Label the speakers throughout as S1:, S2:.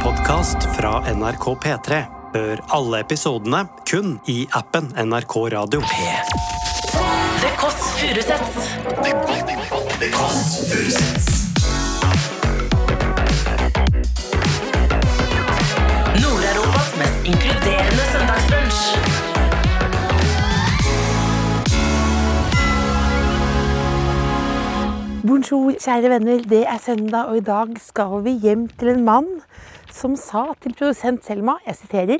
S1: podkast fra NRK P3. Hør alle episodene kun i appen NRK Radio.
S2: The Kåss Furuseths. Nord-Europas mest inkluderende søndagsbrunsch.
S3: Bonjour, kjære venner. Det er søndag, og i dag skal vi hjem til en mann som sa til produsent Selma, jeg siterer,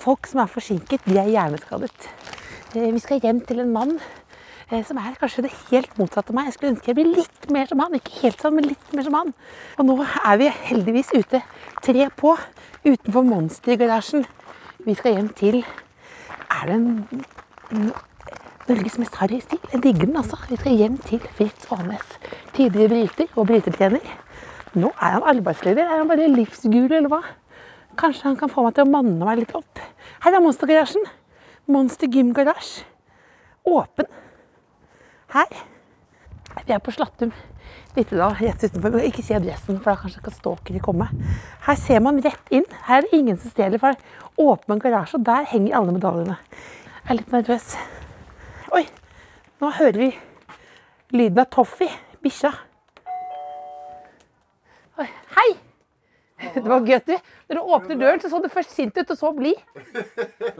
S3: folk som er forsinket, de er hjerneskadet. Eh, Vi skal hjem til en mann eh, som er kanskje det helt motsatte av meg. Jeg skulle ønske jeg ble litt mer som han. Ikke helt sånn, men litt mer som han. Og nå er vi heldigvis ute, tre på, utenfor monstergarasjen. Vi skal hjem til Er det en Norges mest harry stil. Jeg digger den, altså. Vi skal hjem til Fritz Aanes. Tidligere bryter og brytetrener. Nå er han arbeidsleder. Er han bare livsguru, eller hva? Kanskje han kan få meg til å manne meg litt opp. Her er monstergarasjen. Monster Gym Garasje. Åpen. Her. Vi er på Slattum. Nittedal, rett utenfor. Men Ikke si adressen, for da kanskje kan stalkere komme. Her ser man rett inn. Her er det ingen som stjeler. For det er åpen garasje, og der henger alle medaljene. Jeg er litt nervøs. Oi, nå hører vi lyden av Toffee, bikkja. Oi, hei! Det var gøy at du, når du åpner døren, så så du først sint ut, og så blid.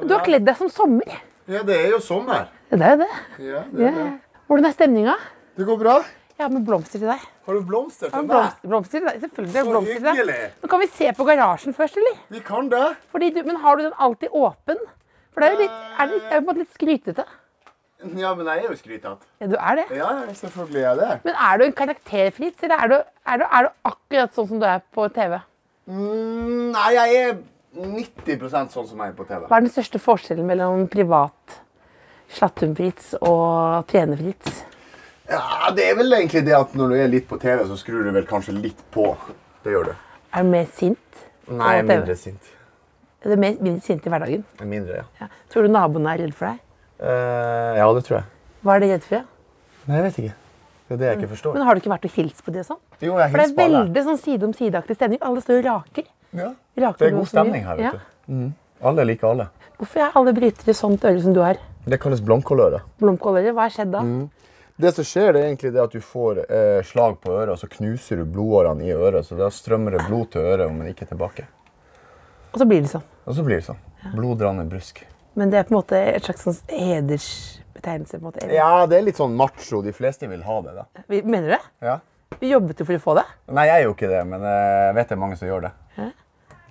S3: Du har kledd deg som sommer.
S4: Ja, det er jo sånn her.
S3: Det er jo det.
S4: Ja,
S3: Ja, ja. Hvordan er stemninga?
S4: Det går bra?
S3: Jeg har med blomster til deg.
S4: Har du blomster
S3: Jeg har
S4: til
S3: med
S4: meg?
S3: blomster, blomster til deg. Selvfølgelig har jeg
S4: Så
S3: blomster til deg.
S4: hyggelig.
S3: Nå kan vi se på garasjen først, eller?
S4: Vi kan det.
S3: Fordi du, men har du den alltid åpen? For det er jo litt, er det, litt- er jo på en måte litt skrytete.
S4: Ja, men jeg er jo skrytete.
S3: Ja, du er det.
S4: Ja, selvfølgelig er jeg det.
S3: Men er du en karakter, Fritz, eller er du, er, du, er du akkurat sånn som du er på TV?
S4: Mm, nei, jeg er 90 sånn som jeg er på TV.
S3: Hva er den største forskjellen mellom privat Slattum-Fritz og Trene-Fritz?
S4: Ja, Det er vel egentlig det at når du er litt på TV, så skrur du vel kanskje litt på. Det gjør du.
S3: Er du mer sint?
S4: Nei,
S3: jeg er mindre
S4: sint.
S3: Er du mer, mindre sint i hverdagen?
S4: Mindre, ja. Eh,
S3: Ja. Tror du naboene er redd for deg?
S4: ja, det tror jeg.
S3: Hva er de redd for? Ja?
S4: Nei, jeg vet ikke. Det er det jeg ikke forstår.
S3: Men har du ikke vært og hilst på de og sånn?
S4: Jo, jeg
S3: For det er
S4: hilser på alle.
S3: veldig sånn side om side-aktig stemning. Alle står og raker.
S4: Ja.
S3: Raker
S4: Det er
S3: du også
S4: god
S3: mye?
S4: stemning her,
S3: Ja.
S4: vet du. Mm. Alle liker alle.
S3: Hvorfor er alle brytere sånt øre som du har?
S4: Det kalles blomkåløre.
S3: Blomkåløre? Hva har skjedd da?
S4: Mm. Det som skjer, det er egentlig det at du får eh, slag på øret, og så knuser du blodårene i øret. Så da strømmer det blod til øret, men ikke tilbake.
S3: Og så blir det sånn.
S4: Og så blir det sånn. Bloddrande brusk.
S3: Men det er på en måte et slags sånn hedersbetegnelse. på en måte. eller?
S4: Ja, det er litt sånn macho. De fleste vil ha det, da.
S3: Vi- Mener du det?
S4: Ja.
S3: Vi jobbet jo for å få det.
S4: Nei, jeg er jo ikke det, men eh, jeg vet det er mange som gjør det.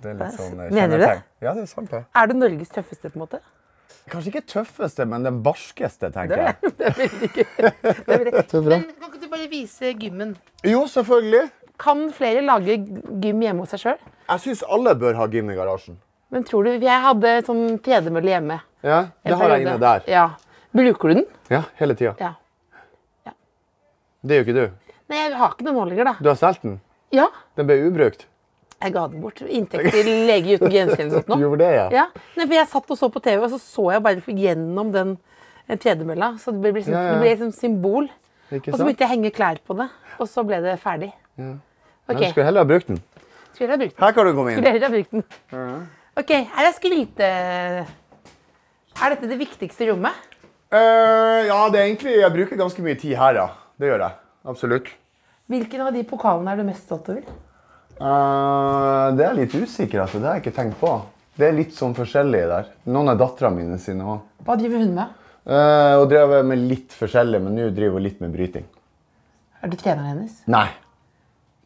S4: Det er litt sånn eh,
S3: Mener du det?
S4: kjennetegn. Ja, det er sant, det.
S3: Er du Norges tøffeste, på en måte?
S4: Kanskje ikke tøffeste, men den barskeste, tenker jeg.
S3: Det er veldig gøy. Det er veldig...
S4: er bra.
S3: Men kan ikke du bare vise gymmen?
S4: Jo, selvfølgelig.
S3: Kan flere lage gym hjemme hos seg sjøl?
S4: Jeg syns alle bør ha gym i garasjen.
S3: Men tror du Jeg hadde sånn tredemølle hjemme.
S4: Ja,
S3: en
S4: Det har jeg inne
S3: periode.
S4: der.
S3: Ja. Bruker du den?
S4: Ja, hele tida.
S3: Ja.
S4: Det gjør ikke du.
S3: Nei, jeg har ikke noen målinger, da.
S4: Du har solgt den.
S3: Ja.
S4: Den ble ubrukt.
S3: Jeg ga den bort. Inntekt til Lege uten grenser eller noe sånt.
S4: Du
S3: nå.
S4: gjorde det, ja.
S3: Ja. Nei, for jeg satt og så på TV, og så så jeg bare gjennom den tredemølla. Så det ble liksom,
S4: Ja, ja.
S3: det ble liksom symbol.
S4: Ikke
S3: Og så begynte jeg å henge klær på det, og så ble det ferdig.
S4: Men
S3: Ok,
S4: Du skulle heller ha brukt den.
S3: Skulle jeg ha brukt den?
S4: Her kan du komme inn.
S3: Skulle jeg ha brukt den? OK, her er skryte... Er dette det viktigste rommet?
S4: Eh, ja, det er egentlig, jeg bruker ganske mye tid her, ja. Det gjør jeg. Absolutt.
S3: Hvilken av de pokalene er du mest stolt over?
S4: Eh, det er jeg litt usikker etter. Det har jeg ikke tenkt på. Det er litt sånn forskjellig der. Noen er dattera mine sine òg.
S3: Hva driver hun med?
S4: og drev med litt forskjellig, men nå driver hun litt med bryting.
S3: Er du treneren hennes?
S4: Nei.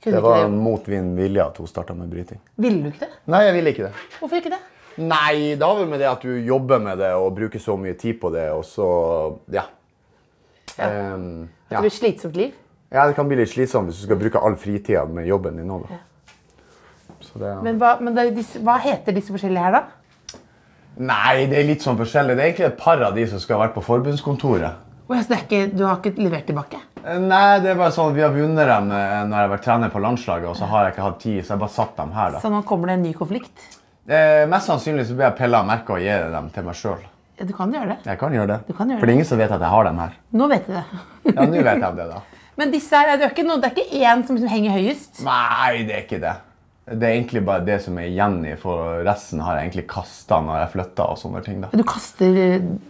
S3: Kunne
S4: Det
S3: ikke
S4: var
S3: det?
S4: mot min vilje at hun starta med bryting.
S3: Ville du ikke det?
S4: Nei, jeg ville ikke det.
S3: Hvorfor ikke det?
S4: Nei, det har vel med det at du jobber med det og bruker så mye tid på det, og så Ja.
S3: Ja.
S4: Em,
S3: Det blir et slitsomt liv.
S4: Ja, det kan bli litt slitsomt hvis du skal bruke all fritida med jobben din nå. da. Så det,
S3: Men, hva, men det, er disse, hva heter disse forskjellige her, da?
S4: Nei, det er litt sånn forskjellig. Det er egentlig et par av de som skal ha vært på forbundskontoret.
S3: Å, ja, så det er ikke, du har ikke levert tilbake?
S4: Eh, Nei, det er bare sånn at vi har vunnet dem eh, når jeg har vært trener på landslaget, og så har jeg ikke hatt tid, så jeg bare satt dem her, da.
S3: Så nå kommer det en ny konflikt?
S4: Eh, mest sannsynlig så blir jeg pilla av merket og gir dem til meg sjøl.
S3: Ja, du kan gjøre det.
S4: Jeg kan gjøre det.
S3: Du kan gjøre
S4: For det er ingen som vet at jeg har dem her.
S3: Nå vet jeg det.
S4: Ja, nå vet jeg det, da.
S3: Men disse her, det er ikke, noe, det er ikke én som liksom henger høyest.
S4: Nei, det er ikke det. Det er egentlig bare det som er igjen i, for resten har jeg egentlig kasta når jeg flytta og sånne ting. da.
S3: Du kaster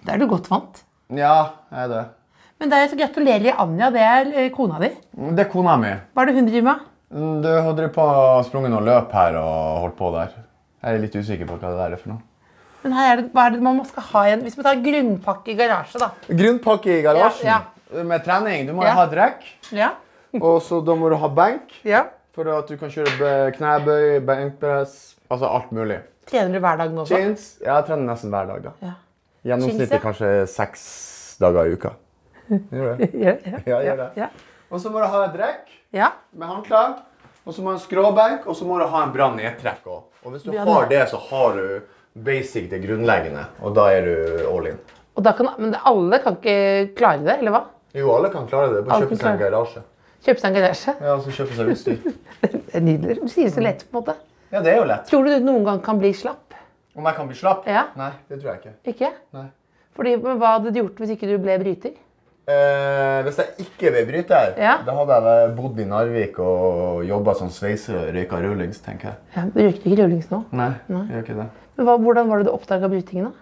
S3: Da er du godt vant.
S4: Ja, jeg er det.
S3: Men det er gratulerer Anja, det er eh, kona di.
S4: Det er kona mi.
S3: Hva er det hun driver med?
S4: Mm, Du har drevet på og sprunget noen løp her og holdt på der. Jeg er litt usikker på hva det der er for noe.
S3: Men her er det, hva er det man skal ha igjen? Hvis vi tar grunnpakke i garasje, da.
S4: Grunnpakke i garasjen
S3: Ja,
S4: med trening. Du må
S3: Ja.
S4: ha drekk,
S3: Ja.
S4: og så da må du ha benk
S3: ja.
S4: for at du kan kjøre be- knebøy, benkpress, altså alt mulig.
S3: Trener du hver dag nå også?
S4: Chins. Jeg trener nesten hver dag, da.
S3: Ja.
S4: Gjennomsnittet
S3: Chins, ja.
S4: kanskje seks dager i uka. Gjør det.
S3: Ja, ja,
S4: Ja, gjør det.
S3: ja.
S4: Og så må du ha drekk
S3: ja.
S4: med håndklag, og så må du ha en skråbenk, og så må du ha en bra nedtrekk òg. Og hvis du
S3: Ja,
S4: har
S3: det-
S4: det, så har du basic det grunnleggende, og da er du all in.
S3: Og da kan, men alle kan ikke klare det, eller hva?
S4: Jo, alle kan klare det. Bare
S3: Alle
S4: kjøpe
S3: kan
S4: seg en garasje.
S3: Kjøpe seg en garasje.
S4: Ja, og så kjøpe seg utstyr.
S3: Det er nydelig. Du sier det så lett, på en måte.
S4: Ja, det er jo lett.
S3: Tror du du noen gang kan bli slapp?
S4: Om jeg kan bli slapp?
S3: Ja.
S4: Nei, det tror jeg ikke.
S3: Ikke?
S4: Nei.
S3: Fordi, men Hva hadde du gjort hvis ikke du ble bryter?
S4: Eh, hvis jeg ikke vil bryte her,
S3: Ja.
S4: da hadde jeg bodd i Narvik og jobba som sveiser og røyka rullings, tenker jeg.
S3: Ja, du røykte ikke rullings nå.
S4: Nei, jeg gjør ikke det.
S3: Men hva, Hvordan var det du oppdaga brytingen? da?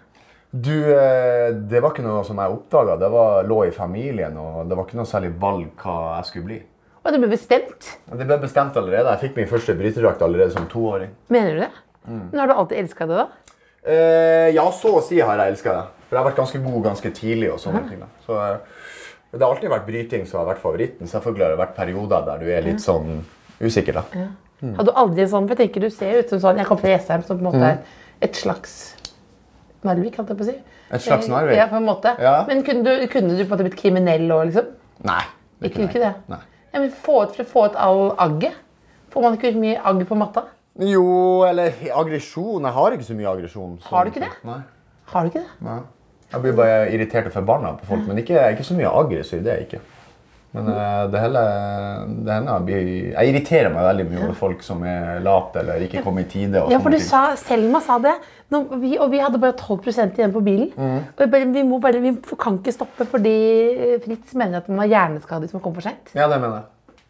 S4: Du, eh, det var ikke noe som jeg oppdaga. Det var, lå i familien, og det var ikke noe særlig valg hva jeg skulle bli.
S3: Og det ble bestemt.
S4: Det ble bestemt allerede. Jeg fikk min første bryterdrakt allerede som toåring.
S3: Mener du det?
S4: Mm.
S3: Men Har du alltid elska det, da?
S4: Eh, ja, så å si har jeg elska det. For jeg har vært ganske god ganske tidlig. og
S3: Mhm.
S4: sånne ting. Da. Så eh, Det har alltid vært bryting som har vært favoritten. Selvfølgelig har det vært perioder der du er litt sånn usikker. da.
S3: Hadde du aldri en sånn, for jeg tenker Du ser ut som sånn Jeg kom fra Jessheim, som på en måte
S4: Mm.
S3: er et slags Narvik, holdt jeg på å si.
S4: Et slags Narvik?
S3: Eh, Ja, på en måte.
S4: Ja.
S3: Men kunne du, kunne du på en måte blitt kriminell òg, liksom?
S4: Nei.
S3: Ikke,
S4: kunne jeg
S3: ikke det?
S4: Nei.
S3: Ja, men få ut, for å få ut all agget? Får man ikke ut mye agg på matta?
S4: Jo, eller aggresjon. Jeg har ikke så mye aggresjon. så-
S3: Har du ikke det?
S4: Nei.
S3: Har du ikke det?
S4: Nei. Jeg blir bare irritert og forbanna på folk, men ikke, ikke så mye aggressiv. det er jeg ikke.
S3: Mm.
S4: Men eh, det hele, det hender jeg, blir, jeg irriterer meg veldig mye over folk som er late eller ikke kommer i tide. og
S3: Ja, for
S4: sånne
S3: du
S4: ting.
S3: sa, Selma sa det, Nå, vi, og vi hadde bare 12 igjen på bilen.
S4: Mm.
S3: Og jeg bare, vi, må bare, vi kan ikke stoppe fordi eh, Fritz mener at man har hjerneskade hvis man kommer for seint.
S4: Ja, det mener jeg.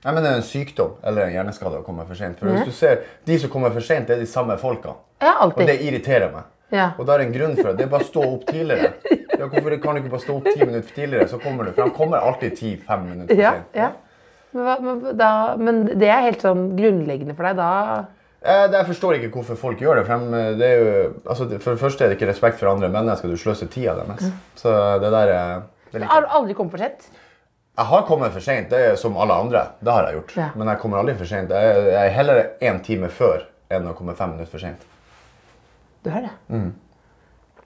S4: Jeg mener det er en sykdom eller en hjerneskade å komme for sent. For hvis du ser, De som kommer for sent, det er de samme folka.
S3: Ja, alltid.
S4: Og det irriterer meg.
S3: Ja.
S4: Og det er en grunn for det. Det er bare å stå opp tidligere. Ja, hvorfor kan du ikke bare stå opp ti minutter tidligere, så kommer du? For han kommer alltid ti-fem minutter for
S3: Ja,
S4: sent.
S3: ja. Men, hva, men, da, men det er helt sånn grunnleggende for deg da?
S4: Eh, det- Jeg forstår ikke hvorfor folk gjør det. For, dem, eh, det er jo, altså, det- for det første er det ikke respekt for andre mennesker. Du sløser tida deres.
S3: Mm.
S4: Så det der eh, det liker.
S3: Har
S4: jeg.
S3: du aldri kommet for sent?
S4: Jeg har kommet for seint, det er som alle andre. Det har jeg gjort.
S3: Ja.
S4: Men jeg kommer aldri for seint. Jeg er- jeg er heller én time før enn å komme fem minutter for seint.
S3: Du har det?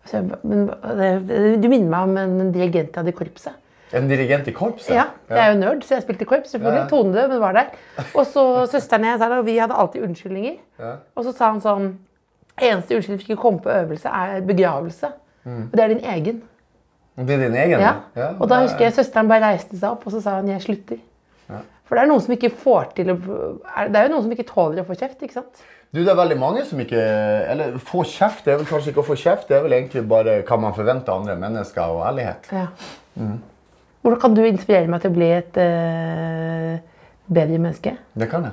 S3: Så jeg ba- Men, det- du minner meg om en dirigent jeg hadde i korpset.
S4: En dirigent i korpset?
S3: Ja, jeg er jo nerd, så jeg spilte i korps. selvfølgelig.
S4: Ja.
S3: Tone død, men var der. Og så søsteren jeg, der, og vi hadde alltid unnskyldninger. Og så sa han sånn Eneste unnskyldning for ikke å komme på øvelse, er begravelse. Og det er din egen.
S4: Det er din egen?
S3: Ja.
S4: ja.
S3: Og da husker jeg søsteren bare reiste seg opp og så sa han, jeg slutter. For det er noen som ikke får til å er- Det er jo noen som ikke tåler å få kjeft, ikke sant?
S4: Eh, Du, Det er veldig mange som ikke Eller få kjeft. Det er vel kanskje ikke å få kjeft, det er vel egentlig bare hva man forventer av andre mennesker, og ærlighet.
S3: Ja. Hvordan kan du inspirere meg til å bli et eh, bedre menneske?
S4: Det kan jeg.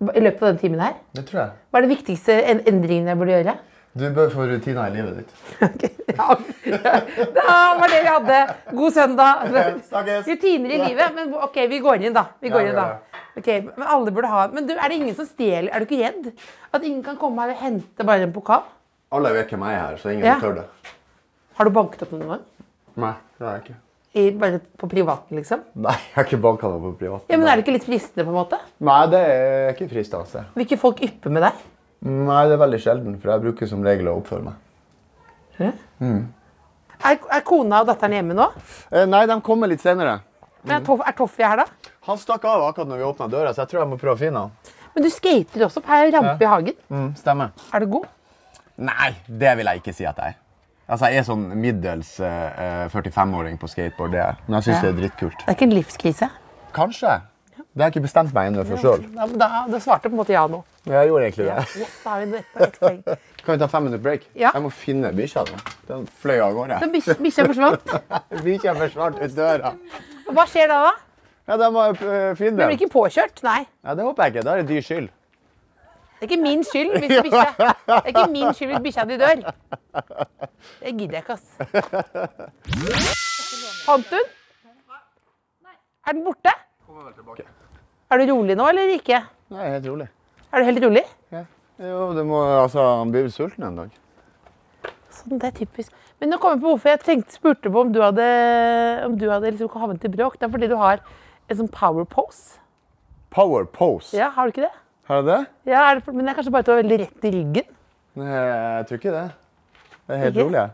S3: I løpet av denne timen her.
S4: Det tror jeg.
S3: Hva er den viktigste en- endringen jeg burde gjøre?
S4: Du bør få rutiner i livet ditt.
S3: Ok, ja. Da var det vi hadde. God søndag.
S4: Snakkes.
S3: Rutiner i livet. Men ok, vi går inn, da. Vi
S4: Ja,
S3: går inn,
S4: vi
S3: da. Ok, men alle burde ha Men du, er det ingen som stjeler? Er du ikke redd? At ingen kan komme her og hente bare en pokal?
S4: Alle vet hvem jeg er her, så ingen
S3: Ja.
S4: tør det.
S3: Har du banket opp noen gang?
S4: Nei, det har jeg ikke.
S3: I, bare på privaten, liksom?
S4: Nei, jeg har ikke banka noe på privat.
S3: Ja, men Er det ikke litt fristende, på en måte?
S4: Nei, det er ikke fristende.
S3: Vil ikke folk yppe med deg?
S4: Nei, det er veldig sjelden, for jeg bruker som regel å oppføre meg. Mm.
S3: Er, er kona og datteren hjemme nå?
S4: Eh, nei, de kommer litt senere.
S3: Men er, Toff- er Toffi her, da?
S4: Han stakk av akkurat når vi åpna døra, så jeg tror jeg må prøve å finne han.
S3: Men du skater også. for Her er rampe i hagen.
S4: Mm, stemmer.
S3: Er du god?
S4: Nei, det vil jeg ikke si at jeg er. Altså, Jeg er sånn middels eh, eh, 45-åring på skateboard, det er. jeg. Men jeg syns
S3: Ja.
S4: det er drittkult.
S3: Det er ikke en livskrise.
S4: Kanskje. Det har jeg ikke bestemt meg ennå for sjøl.
S3: Da, da, da svarte du på en måte ja nå.
S4: Jeg gjorde egentlig det.
S3: Yes, da har vi ett ett poeng.
S4: Kan vi ta fem minutter break?
S3: Ja.
S4: Jeg må finne bikkja. da. Den fløy av gårde.
S3: Men bikkja bikkja forsvant.
S4: Bikkja forsvant ut døra.
S3: Hva skjer da? da?
S4: Ja, De må jo eh, finne
S3: Blir
S4: den.
S3: ikke påkjørt? Nei.
S4: Ja, det håper jeg ikke. Da er det dyrs skyld.
S3: Det er ikke min skyld hvis bikkja Det er ikke min skyld hvis bikkja di dør. Det gidder jeg ikke, ass. Fant du den? Er den borte? Er du rolig nå, eller ikke?
S4: Nei, helt rolig.
S3: Er du helt rolig?
S4: Ja. Jo, du må, altså, han blir vel sulten en dag.
S3: Sånn, det er typisk. Men nå kom jeg på hvorfor jeg tenkte, spurte på om du hadde, om du hadde liksom havnet i bråk. Det er fordi du har en sånn power pose.
S4: Power pose.
S3: Ja, har du ikke det?
S4: Har jeg det?
S3: Ja, er det for, men det er kanskje bare at du er veldig rett i ryggen.
S4: Nei, jeg tror ikke det. Det er helt
S3: Ikke?
S4: rolig. jeg.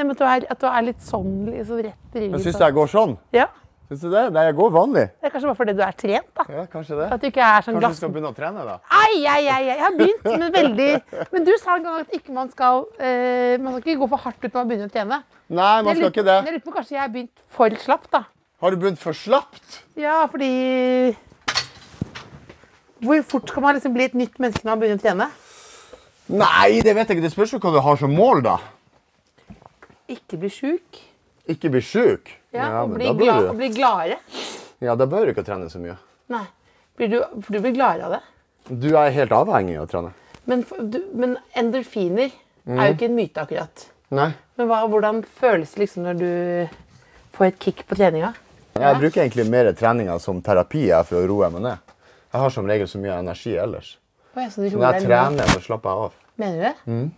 S3: Nei, men at du er, at du er litt sånn, liksom rett i ryggen.
S4: Men syns du
S3: sånn.
S4: jeg går sånn?
S3: Ja,
S4: Syns du det? Nei, jeg går vanlig.
S3: det er kanskje bare fordi du er trent, da.
S4: Ja, kanskje det.
S3: At du ikke er sånn
S4: Kanskje du
S3: glass...
S4: skal begynne å trene, da?
S3: Ai, ai, ai, ai, jeg har begynt, men veldig... Men du sa en gang at ikke man skal... Eh, man skal ikke gå for hardt ut når man begynner å trene.
S4: Nei, man skal
S3: Jeg lurer-
S4: ikke det.
S3: Jeg lurer på kanskje jeg har begynt for slapp, da.
S4: Har du begynt for slapt?
S3: Ja, fordi Hvor fort kan man liksom bli et nytt menneske når man begynner å trene?
S4: Nei, det vet jeg ikke. Det spørs jo hva du har som mål, da.
S3: Ikke bli sjuk.
S4: Ikke bli sjuk.
S3: Ja, og
S4: men
S3: bli,
S4: da blir
S3: glad,
S4: du-
S3: og bli gladere.
S4: Ja, da bør du ikke trene så mye.
S3: Nei, blir du, for du blir gladere av det.
S4: Du er helt avhengig av å trene.
S3: Men, for- du, men endorfiner er
S4: Mm.
S3: jo ikke en myte, akkurat.
S4: Nei.
S3: Men hva, hvordan føles det liksom når du får et kick på treninga?
S4: Jeg bruker egentlig mer treninga som terapi jeg, for å roe meg ned. Jeg har som regel så mye energi ellers.
S3: Å, ja, så du roer
S4: Når jeg
S3: deg ned.
S4: trener, så slapper jeg av.
S3: Mener du det?
S4: Mm.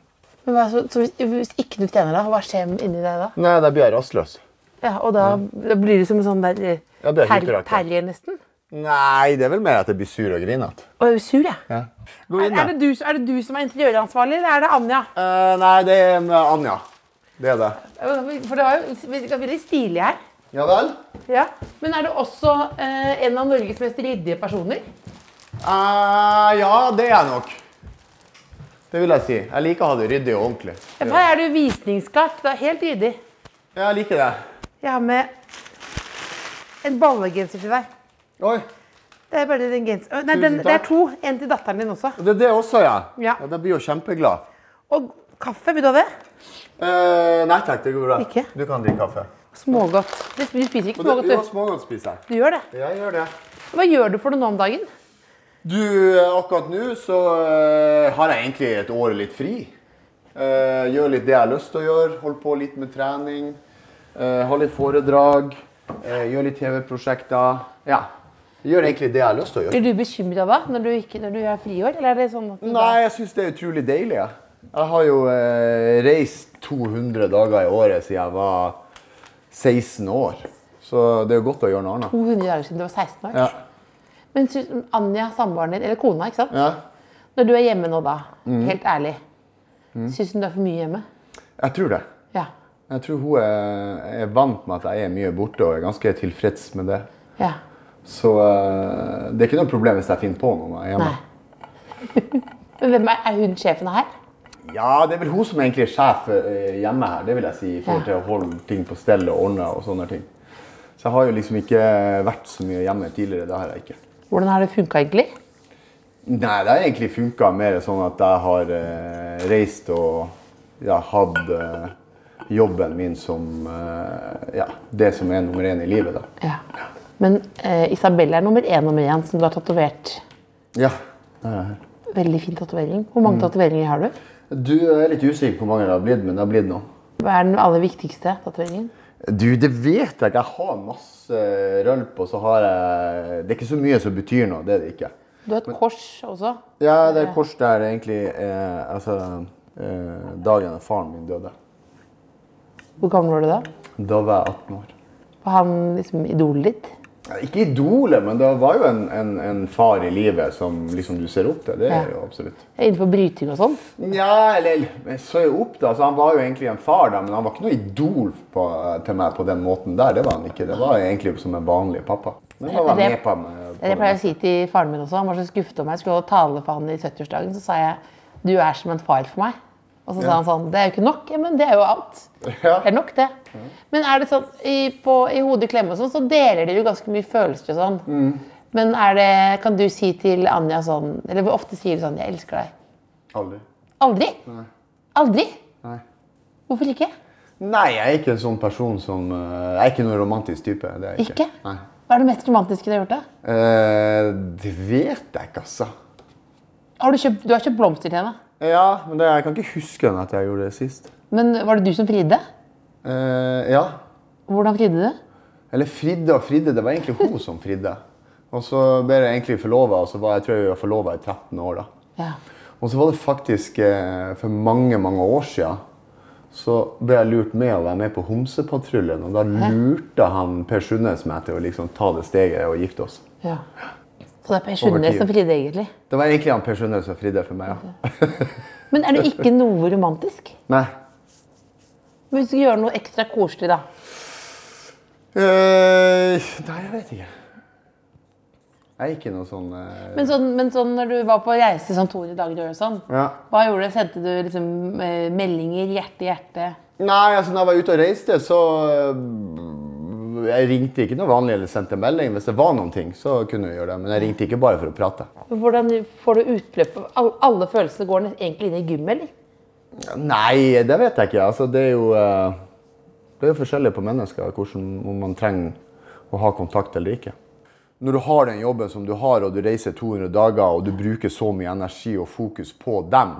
S3: Men hva, så, så hvis, hvis ikke du trener, da, hva skjer inni deg da?
S4: Nei, da blir jeg rastløs.
S3: Ja, og da, da blir du som en sånn der eh,
S4: Mm. Ja, det er
S3: ter,
S4: hyperaktiv.
S3: terrier, nesten.
S4: Nei, det er vel mer at jeg blir sur og grinete.
S3: Og jeg er sur, jeg.
S4: Ja. Gå
S3: Er, er, det du, er det du som er interiøransvarlig, eller er det Anja?
S4: Eh, nei, det er med Anja. Det er det.
S3: For det var jo vi var veldig stilig her.
S4: Ja vel?
S3: Ja. Men er du også eh, en av Norges mest ryddige personer?
S4: Eh, ja, det er jeg nok. Det vil jeg si. Jeg liker å ha det ryddig og ordentlig.
S3: Ja, for Her er du visningsklart. Du er helt ryddig.
S4: Jeg liker det.
S3: Jeg har med en ballegenser til deg.
S4: Oi,
S3: Det er bare den gens- Å, Nei, den,
S4: Tusen
S3: det er
S4: takk.
S3: to. En til datteren din også.
S4: det er det også, ja.
S3: Ja.
S4: ja da blir jeg jo kjempeglad.
S3: Og kaffe, vil du ha det?
S4: Eh, nei takk, det går bra.
S3: Ikke?
S4: Du kan drikke kaffe.
S3: Smågodt. Du du spiser ikke smågodt,
S4: Jo,
S3: du.
S4: smågodt spiser jeg.
S3: Du gjør det.
S4: Jeg gjør det.
S3: Hva gjør du for noe nå om dagen?
S4: Du, eh, akkurat nå så eh, har jeg egentlig et år litt fri. Eh, gjør litt det jeg har lyst til å gjøre. Holder på litt med trening. Uh, har litt foredrag. eh, gjør litt TV-prosjekter. Ja. Gjør egentlig det jeg har lyst til å gjøre.
S3: Blir du bekymra da, når du, ikke, når du er friår? Eller er det sånn at du
S4: Nei, jeg syns det er utrolig deilig. Jeg, jeg har jo eh, reist 200 dager i året siden jeg var 16 år. Så det er jo godt å gjøre noe annet.
S3: 200 dager siden du var 16 år?
S4: Ja.
S3: Men synes- Anja, samboeren din, eller kona, ikke sant?
S4: Ja. Mm.
S3: Når du er hjemme nå, da, helt ærlig, syns hun du er for mye hjemme?
S4: Jeg tror det.
S3: Ja.
S4: Jeg tror hun er, er vant med at jeg er mye borte og er ganske tilfreds med det.
S3: ja.
S4: Så eh, det er ikke noe problem hvis jeg finner på noe når jeg er hjemme.
S3: Nei. Men hvem er, er hun sjefen her?
S4: Ja, det er vel hun som egentlig er sjef eh, hjemme her, det vil jeg si, i forhold til å holde ting på stell og ordne og sånne ting. Så jeg har jo liksom ikke vært så mye hjemme tidligere, det har jeg ikke.
S3: Hvordan har det funka egentlig?
S4: Nei, det har egentlig funka mer sånn at jeg har eh, reist og ja, hatt eh, jobben min som eh, ja, det som er nummer én i livet, da.
S3: Ja. Men eh, Isabel er nummer én nummer én, som du har tatovert.
S4: Ja, det er jeg her.
S3: Veldig fin tatovering. Hvor mange tatoveringer har du?
S4: Du jeg er litt usikker på hvor mange det har blitt, men det har blitt noen.
S3: Hva er den aller viktigste tatoveringen?
S4: Du, det vet jeg ikke. Jeg har masse rølp, og så har jeg Det er ikke så mye som betyr noe. Det er det ikke.
S3: Du har et kors også.
S4: Ja, det er kors der egentlig eh, Altså eh, Dagen da faren min døde.
S3: Hvor gammel var du da?
S4: Da var jeg 18 år.
S3: Var han liksom idolet ditt?
S4: Ja, Ikke idolet, men det var jo en, en, en far i livet som liksom du ser opp til. Det
S3: Ja.
S4: er jo absolutt.
S3: Innenfor bryting og sånn?
S4: Ja, eller men så er jo opp da, så Han var jo egentlig en far, da, men han var ikke noe idol på, til meg på den måten der. Det var han ikke. Det var egentlig som en vanlig pappa. Men han var
S3: Det-
S4: med på meg.
S3: Det jeg pleier å si til faren min også. Han var så skuffet over meg. Jeg skulle holde tale for han i 70-årsdagen. Så sa jeg du er som en far for meg. Og så sa han sånn Det er jo ikke nok. Ja, men det er jo alt.
S4: Ja.
S3: Det er nok, det. Men er det sånn i, på, i hodet i klemme og sånn, så deler dere jo ganske mye følelser og sånn. Men er det, kan du si til Anja sånn Eller hvor ofte sier du sånn Jeg elsker deg.
S4: Aldri.
S3: Aldri? Aldri?
S4: Nei.
S3: Hvorfor ikke?
S4: Nei, jeg er ikke en sånn person som eh, Jeg er ikke noen romantisk type. Det er jeg ikke?
S3: Ikke?
S4: Nei.
S3: Hva er det mest romantiske du har gjort, da?
S4: Eh, det vet jeg ikke, altså.
S3: Har du, kjøpt, du har kjøpt blomster til henne.
S4: Ja, men det, jeg kan ikke huske den at jeg gjorde det sist.
S3: Men var det du som fridde?
S4: Eh, ja.
S3: Hvordan fridde du?
S4: Eller fridde og fridde, det var egentlig hun som fridde. Og så ble jeg egentlig forlova, og så var jeg tror jeg var forlova i 13 år. da.
S3: Ja.
S4: Og så var det faktisk eh, for mange, mange år sia. Så ble jeg lurt med å være med på Homsepatruljen, og da lurte han Per Sundnes meg til å liksom ta det steget og gifte oss.
S3: ja. Så det er Per Sundnes
S4: tid.
S3: som fridde, egentlig.
S4: Det var egentlig han Per Sundnes som fridde for meg, ja.
S3: Men er du ikke noe romantisk?
S4: Nei.
S3: Men Hvis du skal gjøre noe ekstra koselig, da.
S4: Eh, nei, jeg vet ikke. Jeg er ikke noe sånn eh,
S3: Men sånn, men sånn når du var på reise sånn 200 dager og sånn,
S4: Ja.
S3: hva gjorde du? Sendte du liksom eh, meldinger, hjerte, hjerte?
S4: Nei, altså når jeg var ute og reiste, så øh, Jeg ringte ikke noe vanlig eller sendte melding. Hvis det var noen ting, så kunne vi gjøre det. Men jeg ringte ikke bare for å prate.
S3: Hvordan får du utløp? Al- Alle følelsene går ned- egentlig inn i gymmet, eller?
S4: Nei, det vet jeg ikke. Altså, det er jo øh, Det er jo forskjellig på mennesker hvordan, om man trenger å ha kontakt eller ikke. Når du har den jobben som du har, og du reiser 200 dager, og du bruker så mye energi og fokus på dem,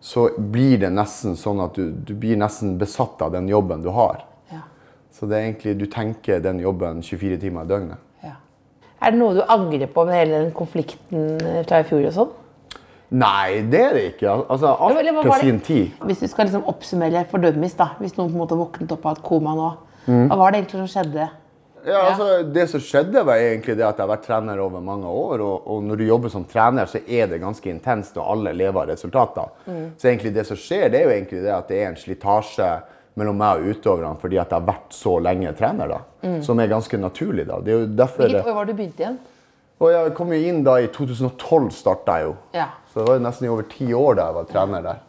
S4: så blir det nesten sånn at du, du blir nesten besatt av den jobben du har.
S3: Ja.
S4: Så det er egentlig, du tenker den jobben 24 timer i døgnet.
S3: ja. Er det noe du angrer på med hele den konflikten fra i fjor og sånn?
S4: Nei, det er det ikke. Altså, alt
S3: Eller hva
S4: til
S3: var det-
S4: sin tid.
S3: Hvis du skal liksom oppsummere for dummies, da. Hvis noen på en måte våknet opp av et koma nå. Hva var det egentlig som skjedde?
S4: Ja, altså, det som skjedde, var egentlig det at jeg har vært trener over mange år. Og, og når du jobber som trener, så er det ganske intenst, og alle lever av resultater. Så egentlig det som skjer, det er jo egentlig det at det er en slitasje mellom meg og utøverne fordi at jeg har vært så lenge trener, da. Som er ganske naturlig, da. Det er jo derfor det
S3: Hvilket år var det du begynte igjen?
S4: Og jeg kom jo inn da i 2012, starta jeg jo.
S3: Ja.
S4: Så det var jo nesten i over ti år da jeg var trener der.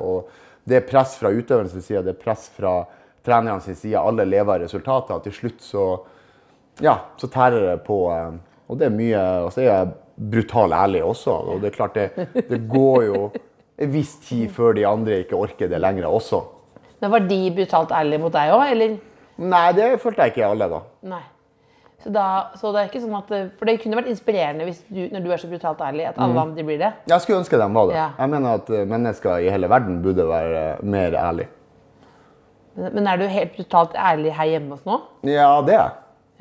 S4: Og det er press fra utøverens side, det er press fra trenerne sin side. Alle lever av resultater. Og til slutt så ja, så tærer det på. eh, Og det er mye Og så er jeg brutal ærlig også. Og det er klart, det, det går jo en viss tid før de andre ikke orker det lenger også.
S3: Men var de brutalt ærlige mot deg òg, eller?
S4: Nei, det følte jeg ikke i alle, da.
S3: Nei. Så, da, så det er ikke sånn at For det kunne vært inspirerende hvis du, når du er så brutalt ærlig, at
S4: Mm.
S3: alle andre blir det.
S4: Jeg skulle ønske de var det.
S3: Ja.
S4: Jeg mener at eh, mennesker i hele verden burde være eh, mer ærlige.
S3: Men, men er du helt brutalt ærlig her hjemme hos nå?
S4: Ja, det er jeg.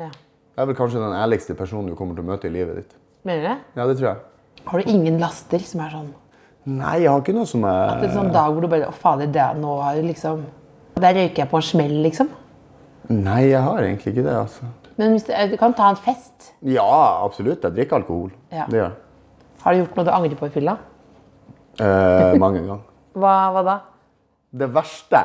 S3: Ja.
S4: Jeg er vel kanskje den ærligste personen du kommer til å møte i livet ditt.
S3: Mener du det?
S4: Ja, det tror jeg.
S3: Har du ingen laster som er sånn
S4: Nei, jeg har ikke noe som
S3: At det er
S4: er
S3: en sånn dag hvor du bare Å, fader, det, nå har du liksom Der røyker jeg på en smell, liksom.
S4: Nei, jeg har egentlig ikke det, altså.
S3: Men hvis du, du kan ta en fest.
S4: Ja, absolutt. Jeg drikker alkohol.
S3: Ja.
S4: Det gjør jeg.
S3: Har du gjort noe du angrer på i fylla?
S4: Eh, mange ganger.
S3: Hva, hva da?
S4: Det verste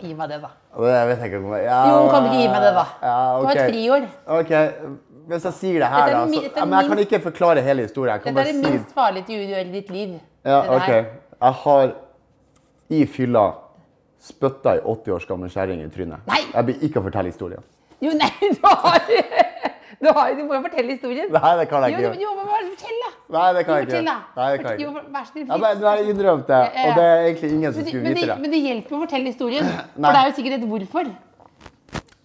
S3: Gi meg det, da.
S4: og Det vet jeg ikke om jeg ja,
S3: Jo, kan du ikke gi meg det, da?
S4: Ja,
S3: Det
S4: ok.
S3: var et friår.
S4: OK. Hvis jeg sier det her,
S3: Dette er
S4: da
S3: mi-
S4: så,
S3: dette er
S4: ja, Men jeg kan
S3: minst-
S4: ikke forklare hele historien. Jeg kan
S3: Dette er
S4: bare
S3: det
S4: si
S3: minst farlige du gjør i ditt liv.
S4: Ja,
S3: Det
S4: OK.
S3: her.
S4: Jeg har i fylla spytta ei 80 år gammel kjerring i trynet.
S3: Nei!
S4: Jeg blir ikke å fortelle historien.
S3: Jo, nei, du har Du, har, du må jo fortelle historien.
S4: Nei, det kan jeg
S3: Jo, du,
S4: ikke gjøre.
S3: jo, men bare fortell, da.
S4: Nei, det kan jeg ikke.
S3: Fortell, da.
S4: Nei, det kan jeg
S3: Jo,
S4: ikke.
S3: vær så snill.
S4: Ja, men, nå har jeg innrømt det,
S3: ja, ja.
S4: og det er egentlig ingen som
S3: Men det-
S4: skulle
S3: men,
S4: vite
S3: det,
S4: det.
S3: men det hjelper å fortelle historien.
S4: Nei.
S3: For det er jo sikkert et hvorfor.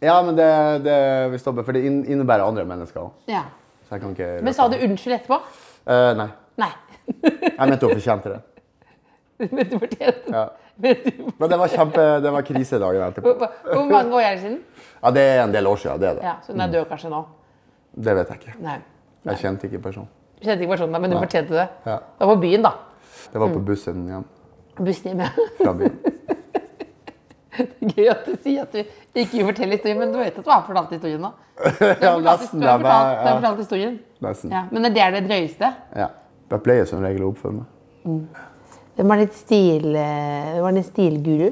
S4: Ja, men det, det vi stopper, for det inn- innebærer andre mennesker òg.
S3: Ja.
S4: Så jeg kan ikke
S3: Men sa du unnskyld etterpå?
S4: Eh, nei.
S3: Nei.
S4: Jeg mente hun fortjente det.
S3: men du fortjente
S4: Ja.
S3: men du,
S4: Men det var kjempe, det var krisedagen etterpå.
S3: hvor, hvor mange år er det siden?
S4: Ja, Det er en del år siden. Det, er det.
S3: Ja, så hun er død kanskje nå.
S4: det vet jeg ikke.
S3: Nei.
S4: Jeg kjente ikke personen.
S3: Du kjente ikke personen, da, men du fortjente det.
S4: Ja.
S3: Det var på byen, da.
S4: Det var på
S3: Mm.
S4: bussen hjem
S3: Bussen hjemme.
S4: fra byen.
S3: Gøy at du sier at du ikke forteller historien, men du vet at du har fortalt historien nå. Du
S4: Ja,
S3: har fortalt,
S4: nesten.
S3: du har fortalt,
S4: Jeg,
S3: du har
S4: bare,
S3: fortalt historien.
S4: ja, nesten.
S3: Ja, men det er det drøyeste.
S4: Ja. Jeg pleier som regel å oppføre meg.
S3: Hvem er ditt stil, eh, hvem er din stilguru?